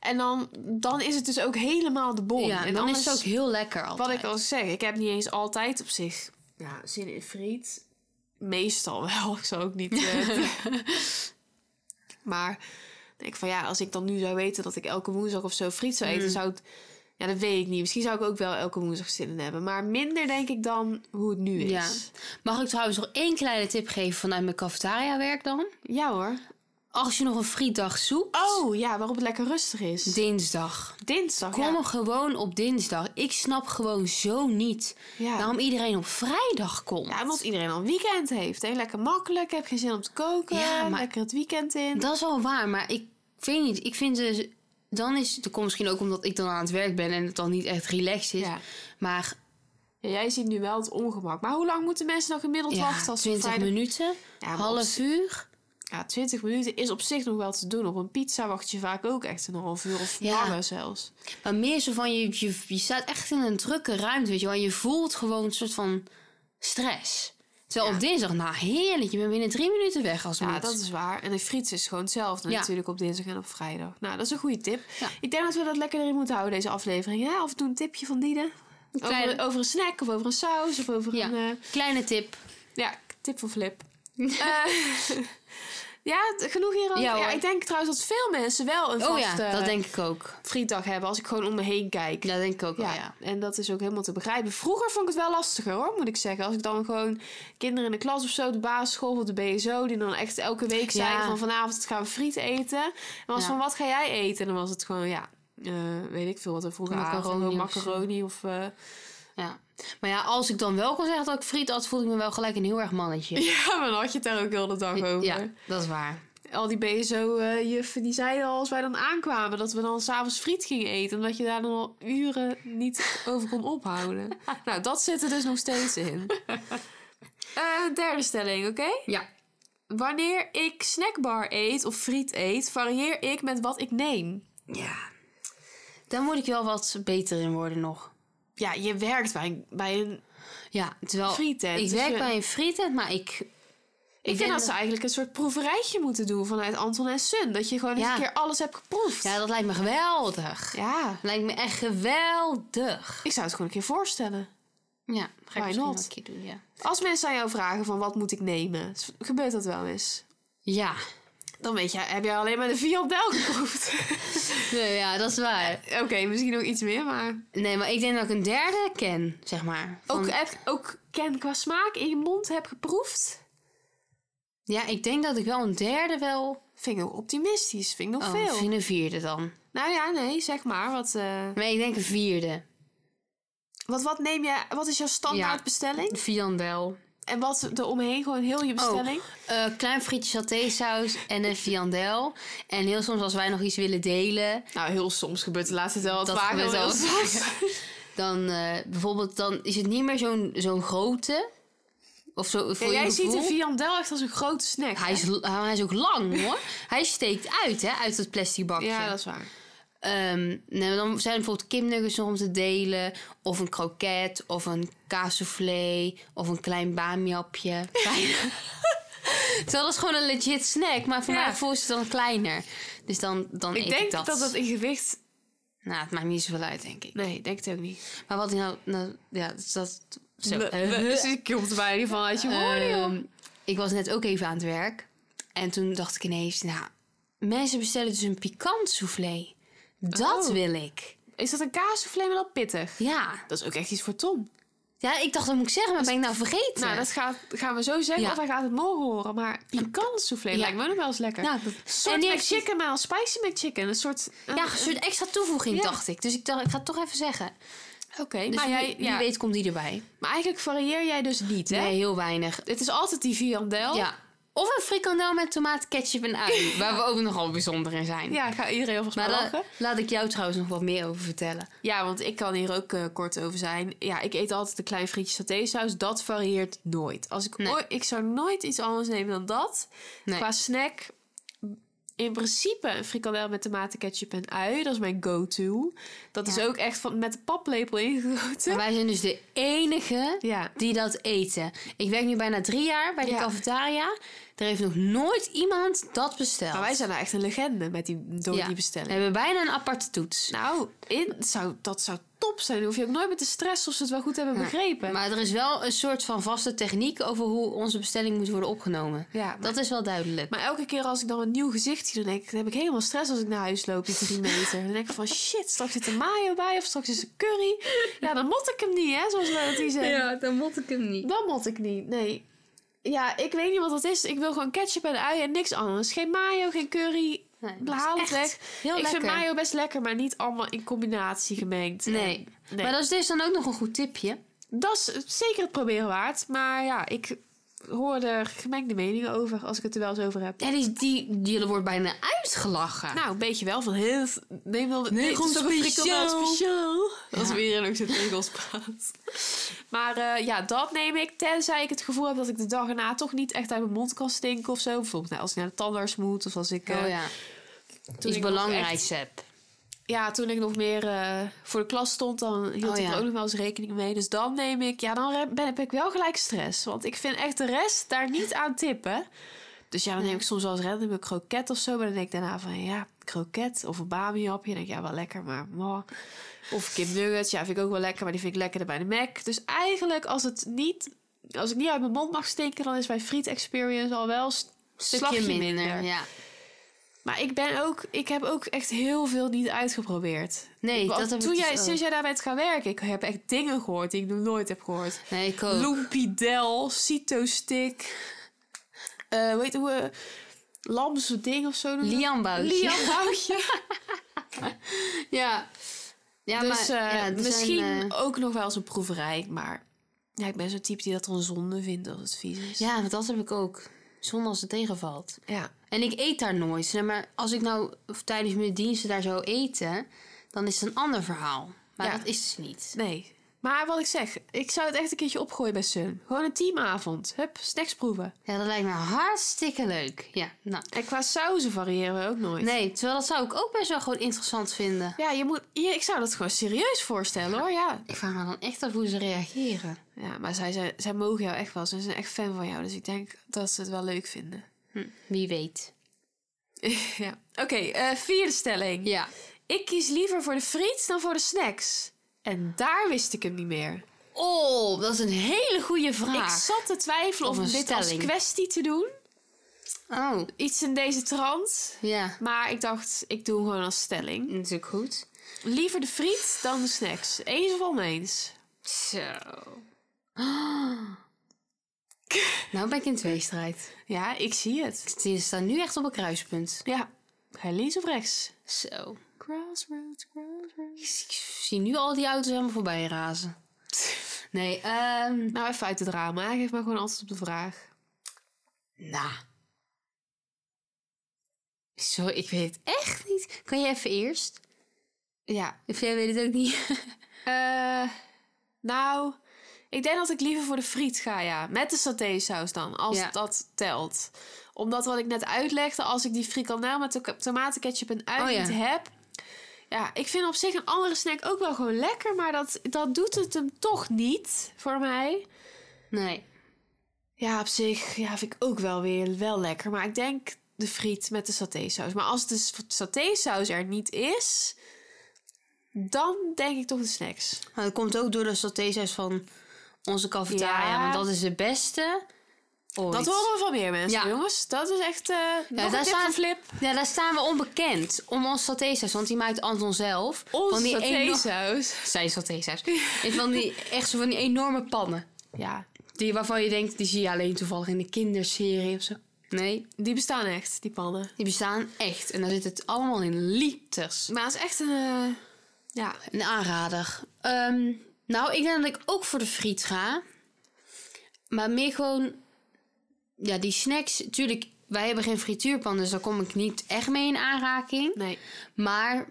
En dan, dan is het dus ook helemaal de bom. Ja, en en dan is het ook heel lekker altijd. Wat ik al zeg, ik heb niet eens altijd op zich ja, zin in friet. Meestal wel, ik zou ook niet. eh, maar ik denk van ja, als ik dan nu zou weten dat ik elke woensdag of zo friet zou eten, Mm. zou ik. Ja, dat weet ik niet. Misschien zou ik ook wel elke woensdag zin in hebben. Maar minder denk ik dan hoe het nu Ja. is. Mag ik trouwens nog één kleine tip geven vanuit mijn cafetaria werk dan? Ja, hoor. Als je nog een frietdag zoekt, Oh ja, waarop het lekker rustig is. dinsdag. Dinsdag. Kom ja. er gewoon op dinsdag. Ik snap gewoon zo niet Ja. waarom iedereen op vrijdag komt. ja, omdat iedereen al een weekend heeft. Hè? Lekker makkelijk, heb geen zin om te koken. Ja, maar- Lekker het weekend in. Dat is wel waar, maar ik weet niet. Ik vind dus, dan is het, dat komt misschien ook omdat ik dan aan het werk ben en het dan niet echt relaxed is. Ja. Maar Ja, jij ziet nu wel het ongemak. Maar hoe lang moeten mensen dan gemiddeld ja, wachten als 20 vrijdag- minuten, Ja, maar op half zich- uur. Ja, 20 minuten is op zich nog wel te doen. Op een pizza wacht je vaak ook echt een half uur of Ja. langer zelfs. Maar meer zo van, je, je, je staat echt in een drukke ruimte, weet je wel. En je voelt gewoon een soort van stress. Terwijl op dinsdag, nou heerlijk, je bent binnen drie minuten weg als Ja, moet. dat is waar. En de friet is gewoon hetzelfde Ja. natuurlijk op dinsdag en op vrijdag. Nou, dat is een goede tip. Ja. Ik denk dat we dat lekker erin moeten houden, deze aflevering. Ja, of doe een tipje van Diede. kleine- Over, over een snack of over een saus of over Ja. een... eh, Kleine tip. Ja, tip van Flip. Eh, ja, t- genoeg hierover. Ja, Ja, hoor. ik denk trouwens dat veel mensen wel een Oh vaste ja, dat denk ik ook. frietdag hebben. Als ik gewoon om me heen kijk. Dat denk ik ook Ja, wel, ja. en dat is ook helemaal te begrijpen. Vroeger vond ik het wel lastiger hoor, moet ik zeggen. Als ik dan gewoon kinderen in de klas of zo, de basisschool of de BSO, die dan echt elke week zeiden Ja. van vanavond gaan we friet eten. En was Ja. van wat ga jij eten? En dan was het gewoon, ja, eh, weet ik veel wat er vroeger Macaroni macaroni, of zo. macaroni of. eh, ja. Maar ja, als ik dan wel kon zeggen dat ik friet had, voelde ik me wel gelijk een heel erg mannetje. ja, maar dan had je het daar ook heel de dag over. Ja, dat is waar. Al die BSO-juffen die zeiden al als wij dan aankwamen dat we dan s'avonds friet gingen eten. Omdat je daar dan al uren niet over kon ophouden. nou, dat zit er dus nog steeds in. Eh, derde stelling, oké? Ja. Wanneer ik snackbar eet of friet eet, varieer ik met wat ik neem. Ja. Daar moet ik wel wat beter in worden nog. Ja, je werkt bij een. Bij een Ja, terwijl Frietent, ik dus werk je- bij een frietent, maar ik... ik ben vind dat er- ze eigenlijk een soort proeverijtje moeten doen vanuit Anton en Sun. Dat je gewoon eens Ja. een keer alles hebt geproefd. Ja, dat lijkt me geweldig. ja. Lijkt me echt geweldig. Ik zou het gewoon een keer voorstellen. Ja, ga Why ik misschien wel not? een keer doen, ja. Als mensen aan jou vragen van wat moet ik nemen, s- gebeurt dat wel eens? Ja. Dan weet je, heb jij alleen maar de viandel geproefd. Nee, ja, dat is waar. Oké, misschien ook iets meer, maar... Nee, maar ik denk dat ik een derde ken, zeg maar. Van- Ook, heb, ook ken qua smaak in je mond heb geproefd? Ja, ik denk dat ik wel een derde wel... Vind ik nog optimistisch, vind ik nog Oh, veel. misschien een vierde dan. Nou ja, nee, zeg maar. Wat, eh, Nee, ik denk een vierde. wat, wat neem jij, wat is jouw standaard Ja. bestelling? Viandel. En wat er omheen, gewoon heel je bestelling? Eh, klein frietje satésaus en een viandel. En heel soms als wij nog iets willen delen... Nou, heel soms gebeurt het laatste wel wat Dat vaker. gebeurt dan wel heel wat soms. dan eh, bijvoorbeeld... dan is het niet meer zo'n zo'n grote. Of zo, voor Ja, jij je ziet gevoel. een viandel echt als een grote snack. Hij hè? is, hij is ook lang hoor. Hij steekt uit, hè, uit het plastic bakje. Ja, dat is waar. Ehm, nee, maar dan zijn er bijvoorbeeld kipnuggets nog om te delen. Of een kroket. Of een kaassoufflé. Of een klein bamiapje. Klein- Terwijl dat is gewoon een legit snack. Maar voor Ja. mij voelt het dan kleiner. Dus dan, dan eet Ik ik denk dat. dat dat in gewicht... Nou, het maakt niet zoveel uit, denk ik. Nee, ik denk het ook niet. Maar wat ik nou... nou ja, dus dat... Zo. eh, Bleh, bleh. Dus ik komt bij in ieder geval uit je woorden, joh. Ehm, ik was net ook even aan het werk. En toen dacht ik ineens, nou, mensen bestellen dus een pikant soufflé. Dat Oh. wil ik. Is dat een kaassoufflé maar dan pittig? Ja. Dat is ook echt iets voor Tom. Ja, ik dacht, dat moet ik zeggen, maar ben ik nou vergeten? Nou, dat gaat, gaan we zo zeggen, Ja. of hij gaat het morgen horen. Maar pikant soufflé Ja. lijkt me ook nog wel eens lekker. Nou, dat- Een soort en die heeft- McChicken, maar een spicy McChicken. Een soort... een- Ja, een soort extra toevoeging, Ja. dacht ik. Dus ik dacht, ik ga het toch even zeggen. Ah, Oké, Dus maar, wie, jij, wie ja. weet komt die erbij. maar eigenlijk varieer jij dus niet, hè? Nee, heel weinig. Het is altijd die viandel. Ja. Of een frikandel met tomaat, ketchup en ui. waar we ook nogal bijzonder in zijn. Ja, ga iedereen alvast maar Maar la- lachen. laat ik jou trouwens nog wat meer over vertellen. Ja, want ik kan hier ook eh, kort over zijn. Ja, ik eet altijd een klein frietje satésaus. Dat varieert nooit. Als ik, Nee. ooit- ik zou nooit iets anders nemen dan dat. Nee. Qua snack... In principe een frikandel met tomaten, ketchup en ui. Dat is mijn go-to. Dat Ja. is ook echt van, met de paplepel ingegoten. Maar wij zijn dus de enige Ja. die dat eten. Ik werk nu bijna drie jaar bij de Ja. cafetaria. Er heeft nog nooit iemand dat besteld. Maar wij zijn nou echt een legende met die, door Ja. die We bestelling. hebben bijna een aparte toets. Nou, in, zou, dat zou top zijn. Dan hoef je ook nooit met de stress of ze het wel goed hebben Ja. begrepen. Maar er is wel een soort van vaste techniek over hoe onze bestelling moet worden opgenomen. ja, maar, Dat is wel duidelijk. maar elke keer als ik dan een nieuw gezicht zie, dan denk ik, dan heb ik helemaal stress als ik naar huis loop, die drie meter. Dan denk ik van shit, straks zit een mayo bij of straks is een curry. Ja, dan mot ik hem niet, hè, zoals wij dat hier zeggen. dan mot ik hem niet. Dan mot ik niet, nee. Ja, ik weet niet wat dat is. Ik wil gewoon ketchup en ui en niks anders. Geen mayo, geen curry. Nee, dat is Haal het echt weg. Heel ik lekker. vind mayo best lekker, maar niet allemaal in combinatie gemengd. Nee. En- nee. Maar dat is dus dan ook nog een goed tipje. Dat is zeker het proberen waard. Maar ja, ik hoor er gemengde meningen over als ik het er wel eens over heb. Ja, die, die, die wordt bijna uitgelachen. Nou, een beetje wel van heel. Neem wel Nee, het is gewoon toch een speciaal. frikandel speciaal. Als Ja. we hier ook zit Engels praat. Maar eh, ja, dat neem ik. Tenzij ik het gevoel heb dat ik de dag erna toch niet echt uit mijn mond kan stinken of zo. Bijvoorbeeld nou, als ik naar de tandarts moet of als ik. eh, oh ja. toen Iets ik nog belangrijks heb. Ja, toen ik nog meer eh, voor de klas stond, dan hield Oh, ik ja. er ook nog wel eens rekening mee. Dus dan neem ik, ja, dan re- ben, heb ik wel gelijk stress. Want ik vind echt de rest daar niet aan tippen. Dus ja, dan neem ik soms wel eens random een kroket of zo. Maar dan denk ik daarna van, ja, kroket of een bamiapje. Dan denk ik, ja, wel lekker, maar mwah. Of kipnuggets, ja, vind ik ook wel lekker. Maar die vind ik lekkerder bij de Mac. Dus eigenlijk, als het niet... Als ik niet uit mijn mond mag stinken, dan is mijn friet experience al wel een Stukje minder. Ja. Maar ik ben ook, ik heb ook echt heel veel niet uitgeprobeerd. Nee, Want dat heb toen ik dus jij, ook. Sinds jij daar bent gaan werken, ik heb echt dingen gehoord die ik nog nooit heb gehoord. Nee, ik ook. Loempidel, Cito-stick, eh, weet hoe, eh, Lamse ding of zo. noemen we dat? Liamboutje. Liamboutje. Ja. Ja, dus maar, eh, ja, er zijn, misschien eh, ook nog wel eens een proeverij, maar ja, ik ben zo'n type die dat dan zonde vindt als het vies is. ja, want dat heb ik ook. Zonder als het tegenvalt. ja. En ik eet daar nooit. Nee, maar als ik nou tijdens mijn diensten daar zou eten, dan is het een ander verhaal. Maar Ja. dat is dus niet. Nee. Maar wat ik zeg, ik zou het echt een keertje opgooien bij Sun. Gewoon een teamavond. Hup, snacks proeven. Ja, dat lijkt me hartstikke leuk. Ja, nou. En qua sauzen variëren we ook nooit. Nee, terwijl dat zou ik ook best wel gewoon interessant vinden. Ja, je moet, je- ik zou dat gewoon serieus voorstellen hoor, ja. Ik vraag me dan echt af hoe ze reageren. Ja, maar zij, zij, zij mogen jou echt wel. Ze zijn echt fan van jou, dus ik denk dat ze het wel leuk vinden. Wie weet. ja. Oké, eh, vierde stelling. Ja. Ik kies liever voor de friet dan voor de snacks. En daar wist ik hem niet meer. Oh, dat is een hele goede Ik vraag. zat te twijfelen Of om een dit als stelling. kwestie te doen. Oh, Iets in deze trant. ja. Maar ik dacht, ik doe hem gewoon als stelling. Natuurlijk goed. Liever de friet dan de snacks. Eens of oneens? Zo. Nou ben ik in tweestrijd. Ja, ik zie het. Ze staan nu echt op een kruispunt. Ja. Ga je links of rechts? Zo. Crossroads, crossroads. Ik zie nu al die auto's helemaal voorbij razen. Nee, ehm... Nou, even uit het raam. hè. Geef maar gewoon antwoord op de vraag. Nou. Zo, ik weet het echt niet. Kan je even eerst? Ja. Of jij weet het ook niet. Eh, nou, ik denk dat ik liever voor de friet ga, ja. Met de satésaus dan, als Ja. dat telt. Omdat wat ik net uitlegde, als ik die frikandel met to- tomatenketchup en ui Oh, ja. niet heb... Ja, ik vind op zich een andere snack ook wel gewoon lekker, maar dat, dat doet het hem toch niet voor mij. Nee. Ja, op zich ja, vind ik ook wel weer wel lekker. Maar ik denk de friet met de satésaus. Maar als de s- satésaus er niet is, dan denk ik toch de snacks. Maar dat komt ook door de satésaus van onze cafetaria. Ja. Want dat is de beste ooit. Dat horen we van meer mensen, Ja. jongens. Dat is echt eh nog een daar tip staan- van Flip. Ja, daar staan we onbekend om onze satésaus. Want die maakt Anton zelf. van Onze die enorme- satésaus. Zijn satésaus. En van die, echt zo van die enorme pannen. Ja, Die waarvan je denkt, die zie je alleen toevallig in de kinderserie of zo. Nee, die bestaan echt, die pannen. die bestaan echt. En daar zit het allemaal in liters. Maar het is echt een... eh, ja, Een aanrader. Ehm, nou, ik denk dat ik ook voor de friet ga. Maar meer gewoon... Ja, die snacks... Tuurlijk, wij hebben geen frituurpan, dus daar kom ik niet echt mee in aanraking. nee. Maar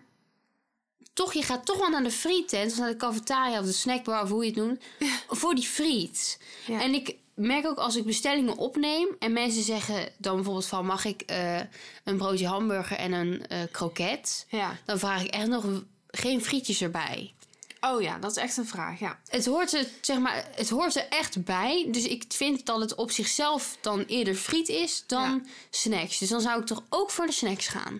toch, je gaat toch wel naar de friettent, of naar de cafetaria of de snackbar, of hoe je het noemt, voor die friet. Ja. En ik merk ook als ik bestellingen opneem en mensen zeggen dan bijvoorbeeld van mag ik eh, een broodje hamburger en een eh, kroket, Ja. dan vraag ik echt nog geen frietjes erbij. Oh ja, dat is echt een vraag, ja. Het hoort, er, zeg maar, het hoort er echt bij. Dus ik vind dat het op zichzelf dan eerder friet is dan snacks. Dus dan zou ik toch ook voor de snacks gaan.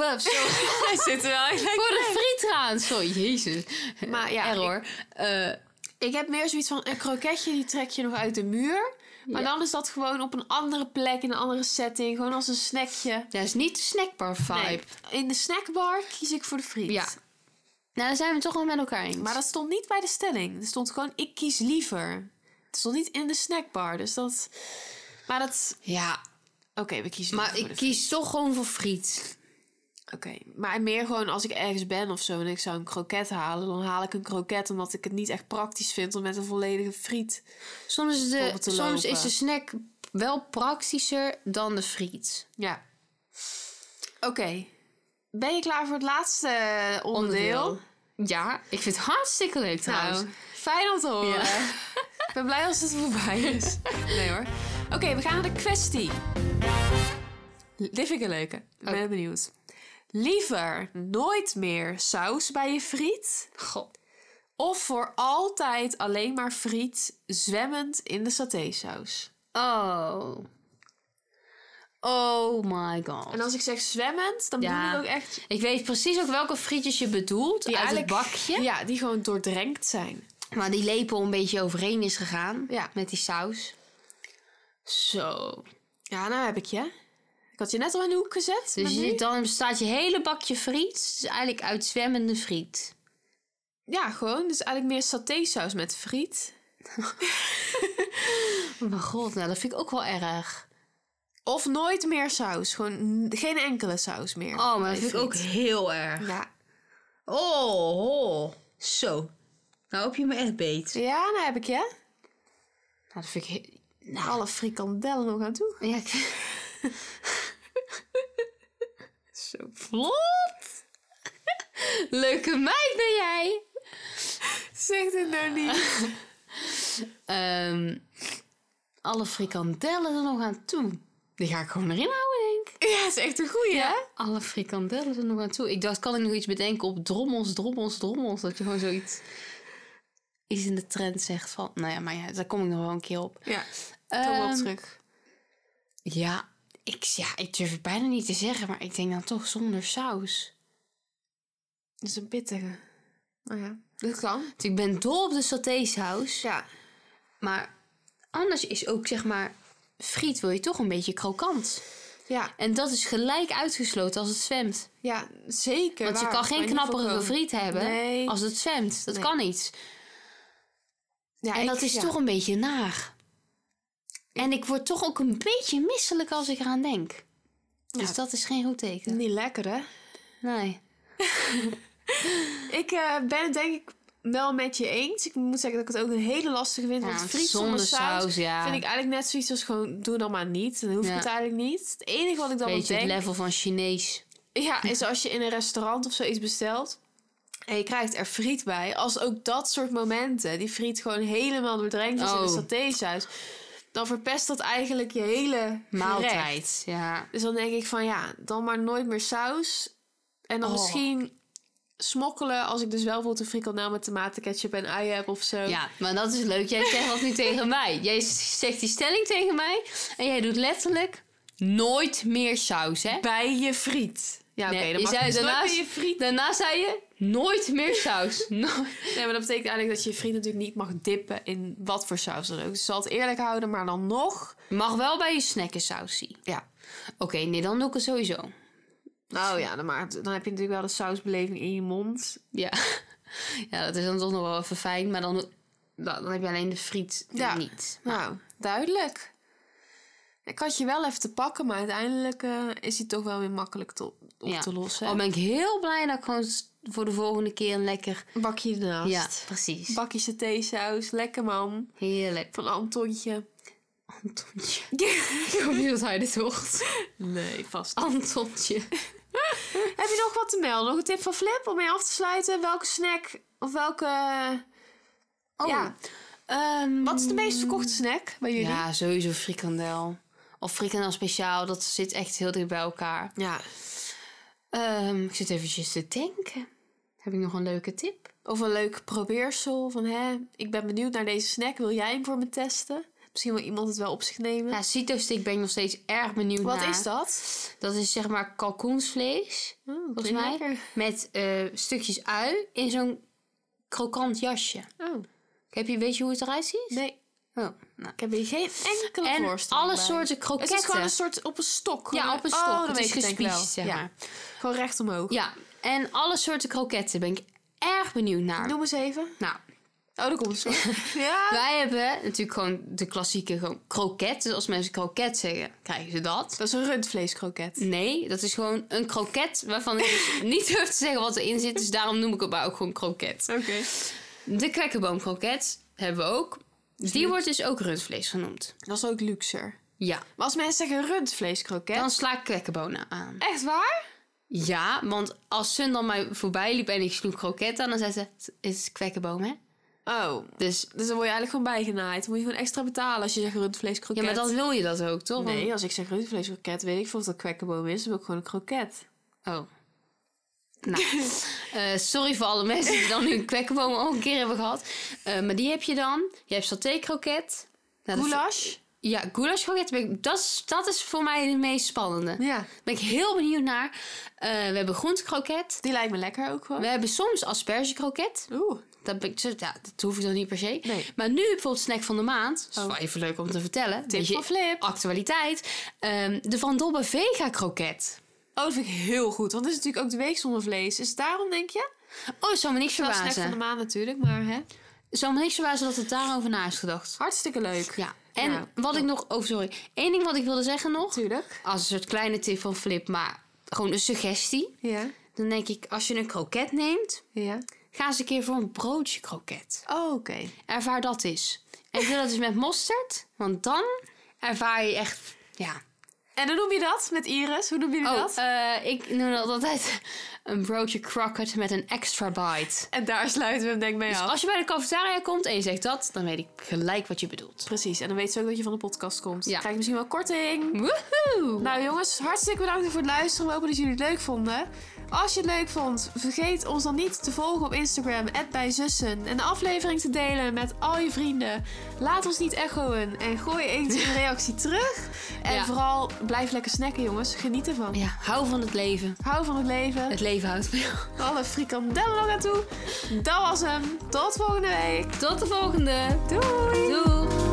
eh, sorry. Hij zit er wel in. Voor de friet gaan. Sorry, jezus. Maar ja, Error. Eh, Ik heb meer zoiets van een kroketje, die trek je nog uit de muur. Maar dan is dat gewoon op een andere plek, in een andere setting. Gewoon als een snackje. dat is niet de snackbar vibe. Nee, in de snackbar kies ik voor de friet. Ja. Nou, daar zijn we toch wel met elkaar eens. Maar dat stond niet bij de stelling. Er stond gewoon, ik kies liever. Het stond niet in de snackbar, dus dat... Maar dat... Ja, Oké, we kiezen maar liever voor ik de kies toch gewoon voor friet. friet. Oké, maar meer gewoon als ik ergens ben of zo en ik zou een kroket halen... dan haal ik een kroket omdat ik het niet echt praktisch vind om met een volledige friet... Soms, is de, Om te soms lopen. is de snack wel praktischer dan de friet. Ja. Oké. Ben je klaar voor het laatste eh, onderdeel? Ja, ik vind het hartstikke leuk trouwens. Nou, fijn om te horen. Ik ben blij als het voorbij is. Nee hoor. Oké, we gaan naar de kwestie. Dit vind ik een leuke. Ik ben benieuwd. Liever nooit meer saus bij je friet... God. of voor altijd alleen maar friet zwemmend in de satésaus? Oh. Oh my god. En als ik zeg zwemmend, dan Ja. bedoel ik ook echt... die Ik weet precies ook welke frietjes je bedoelt. uit het eigenlijk- bakje. Ja, die gewoon doordrenkt zijn. Maar die lepel een beetje overheen is gegaan. Ja. Met die saus. Zo. Ja, nou heb ik je. Ik had je net al in de hoek gezet. Dus maar je nu- zit dan staat je hele bakje friet. Dus eigenlijk uit zwemmende friet. Ja, gewoon. Dus eigenlijk meer satésaus met friet. Oh mijn god, nou dat vind ik ook wel erg. Of nooit meer saus. Gewoon n- geen enkele saus meer. Oh, maar bij dat vind ik friet. ook heel erg. Ja. Oh, oh. zo. Nou heb je me echt beet. Nou, ja, nou heb ik je. dat vind ik... he- Nou, Alle frikandellen nog aan toe. ja, ik- zo vlot. Leuke meid ben jij. Zeg het nou niet. Ehm, alle frikandellen er nog aan toe. Die ga ik gewoon erin houden, denk ik. ja, is echt een goeie, hè? Alle frikandellen er nog aan toe. Ik dacht, kan ik nog iets bedenken op drommels, drommels, drommels? Dat je gewoon zoiets iets in de trend zegt van... Nou ja, maar ja, daar kom ik nog wel een keer op. Ja. Kom wel Ehm, terug. Ja ik, ja, ik durf het bijna niet te zeggen, maar ik denk dan toch zonder saus. Dat is een pittige. Nou ja, dat kan. Want ik ben dol op de satésaus. Ja. Maar anders is ook, zeg maar... Friet wil je toch een beetje krokant. Ja, En dat is gelijk uitgesloten als het zwemt. ja zeker. Want je waar. kan Maar geen niet knapperige volkomen. friet hebben Nee. als het zwemt. Dat Nee. kan niet. Ja, en ik- dat is ja. toch een beetje naar. En ik word toch ook een beetje misselijk als ik eraan denk. Dus Ja. dat is geen goed teken. Niet lekker, hè? Nee. Ik eh, ben het denk ik wel met je eens. Ik moet zeggen dat ik het ook een hele lastige vind. Ja, want friet zonder saus, ja. vind ik eigenlijk net zoiets als gewoon... Doe dan maar niet. Dan hoef Ja. ik het eigenlijk niet. Het enige wat ik dan wel beetje het denk... level van Chinees. Ja, is als je in een restaurant of zoiets bestelt... En je krijgt er friet bij. Als ook dat soort momenten... Die friet gewoon helemaal doordrenkt is in de Oh. satésaus. Dan verpest dat eigenlijk je hele gerecht. Maaltijd. Ja. Dus dan denk ik van ja, dan maar nooit meer saus. En dan Oh. misschien smokkelen als ik dus wel bijvoorbeeld een frikandel met tomatenketchup en ui heb of zo. Ja, maar dat is leuk. Jij zegt dat nu tegen mij. Jij zegt die stelling tegen mij. En jij doet letterlijk nooit meer saus, hè? Bij je friet. Ja, oké, Nee, dan mag je je zei dus nooit daarnaast- bij je friet. Daarna zei je nooit meer saus. Nooit. Nee, maar dat betekent eigenlijk dat je je friet natuurlijk niet mag dippen in wat voor saus dan ook. Dus zal het eerlijk houden, maar dan nog. Mag wel bij je snacken sausie. Ja. Oké, nee, dan doe ik het sowieso. Oh Nou ja, dan, maar, dan heb je natuurlijk wel de sausbeleving in je mond. Ja. ja, dat is dan toch nog wel even fijn. Maar dan, dan, dan heb je alleen de friet Ja. niet. Nou, duidelijk. Ik had je wel even te pakken, maar uiteindelijk eh, is hij toch wel weer makkelijk te, op Ja. te lossen. Al Oh, ben ik heel blij dat ik gewoon s- voor de volgende keer een lekker... Een bakje ernaast. Ja, precies. Bakje satésaus, lekker man. Heerlijk. Van Antontje. Antontje. ik hoop niet dat hij dit hoort. Nee, vast Antontje. Heb je nog wat te melden? Nog een tip van Flip om mee af te sluiten? Welke snack of welke... Oh. Ja. ehm, Wat is de meest verkochte snack bij jullie? Ja, sowieso frikandel. Of frikandel speciaal, dat zit echt heel dicht bij elkaar. ja. Ehm, ik zit eventjes te denken. Heb ik nog een leuke tip? Of een leuk probeersel van hè, ik ben benieuwd naar deze snack. Wil jij hem voor me testen? Misschien wil iemand het wel op zich nemen. Ja, cito-stick ben ik nog steeds erg benieuwd Wat naar. is dat? Dat is zeg maar kalkoensvlees, Oh, volgens mij. Met eh, stukjes ui in zo'n krokant jasje. Oh. Heb je, weet je hoe het eruit ziet? Nee, Oh, nou. ik heb hier geen enkele En voorstelling alle bij. soorten Het kroketten. is gewoon een soort op een stok. Ja, Gewoon- op een Oh, stok. dan het weet is ik denk wel. gespiesd, zeg Ja. maar. Gewoon recht omhoog. Ja, en alle soorten kroketten ben ik erg benieuwd naar. Noem eens even. Nou, Oh, daar komt het. ja. wij hebben natuurlijk gewoon de klassieke gewoon kroket. Dus als mensen kroket zeggen, krijgen ze dat. Dat is een rundvleeskroket. Nee, dat is gewoon een kroket waarvan ik dus niet durf te zeggen wat erin zit. Dus daarom noem ik het maar ook gewoon kroket. Oké. De kwekkenboomkroket hebben we ook. Die wordt dus ook rundvlees genoemd. Dat is ook luxer. Ja, Maar als mensen zeggen rundvleeskroket... dan sla ik kwekkenbonen aan. Echt waar? Ja, want als Sun dan mij voorbij liep en ik sloeg kroket aan, dan zei ze, het is kwekkenboom, hè? Oh. Dus Dus dan word je eigenlijk gewoon bijgenaaid. Dan moet je gewoon extra betalen als je zegt ja, rundvleeskroket. maar dan wil je dat ook, toch? Want- Nee, als ik zeg rundvleeskroket, weet ik veel of dat kwekkenboom is. Dan wil ik gewoon een kroket. Oh. Nou, eh, sorry voor alle mensen die dan nu een kwekkenboom al een keer hebben gehad. Eh, maar die heb je dan. Je hebt satékroket. Nou, dat- Goulash? Ja, goulashkroket. ben ik- Dat, is- dat is voor mij de meest spannende. Daar Ja. ben ik heel benieuwd naar. Eh, we hebben groentekroket. Die lijkt me lekker ook gewoon. We hebben soms aspergekroket. Oeh. Dat, ben ik, zo- ja, dat hoef ik dan niet per se. Nee. Maar nu bijvoorbeeld snack van de maand. Dat is Oh. wel even leuk om te vertellen. Tip Beetje van Flip. actualiteit. Ehm, de Van Dobbe Vega kroket. Oh, dat vind ik heel goed. Want het is natuurlijk ook de week zonder vlees. Is het daarom, denk je? Oh, het zou me niks Wel snack van verbazen. de maand natuurlijk, maar hè. Het zou me niks verbazen dat het daarover na is gedacht. Hartstikke leuk. Ja. En Nou, wat ik nog... Oh, sorry. Eén ding wat ik wilde zeggen nog. Natuurlijk. Als een soort kleine tip van Flip, maar gewoon een suggestie. Ja. Dan denk ik, als je een kroket neemt, Ja. ga eens een keer voor een broodje kroket. Oh, oké. Ervaar dat eens. En doe dat eens met mosterd, want dan ervaar je echt... Ja. En dan noem je dat met Iris. Hoe noem je Oh, dat? eh, ik noem dat altijd een broodje kroket met een extra bite. En daar sluiten we hem denk ik mee Dus af. als je bij de cafetaria komt en je zegt dat, dan weet ik gelijk wat je bedoelt. Precies. En dan weet ze ook dat je van de podcast komt. Ja. Krijg je misschien wel korting. Woehoe! Nou jongens, hartstikke bedankt voor het luisteren. We hopen dat jullie het leuk vonden. Als je het leuk vond, vergeet ons dan niet te volgen op Instagram, @bijzussen En de aflevering te delen met al je vrienden. Laat ons niet echoen en gooi eens een reactie terug. En Ja. vooral, blijf lekker snacken jongens. Geniet ervan. Ja, hou van het leven. Hou van het leven. Het leven houdt van jou. Alle frikandellen nog naartoe. Dat was hem. Tot volgende week. Tot de volgende. Doei. Doei.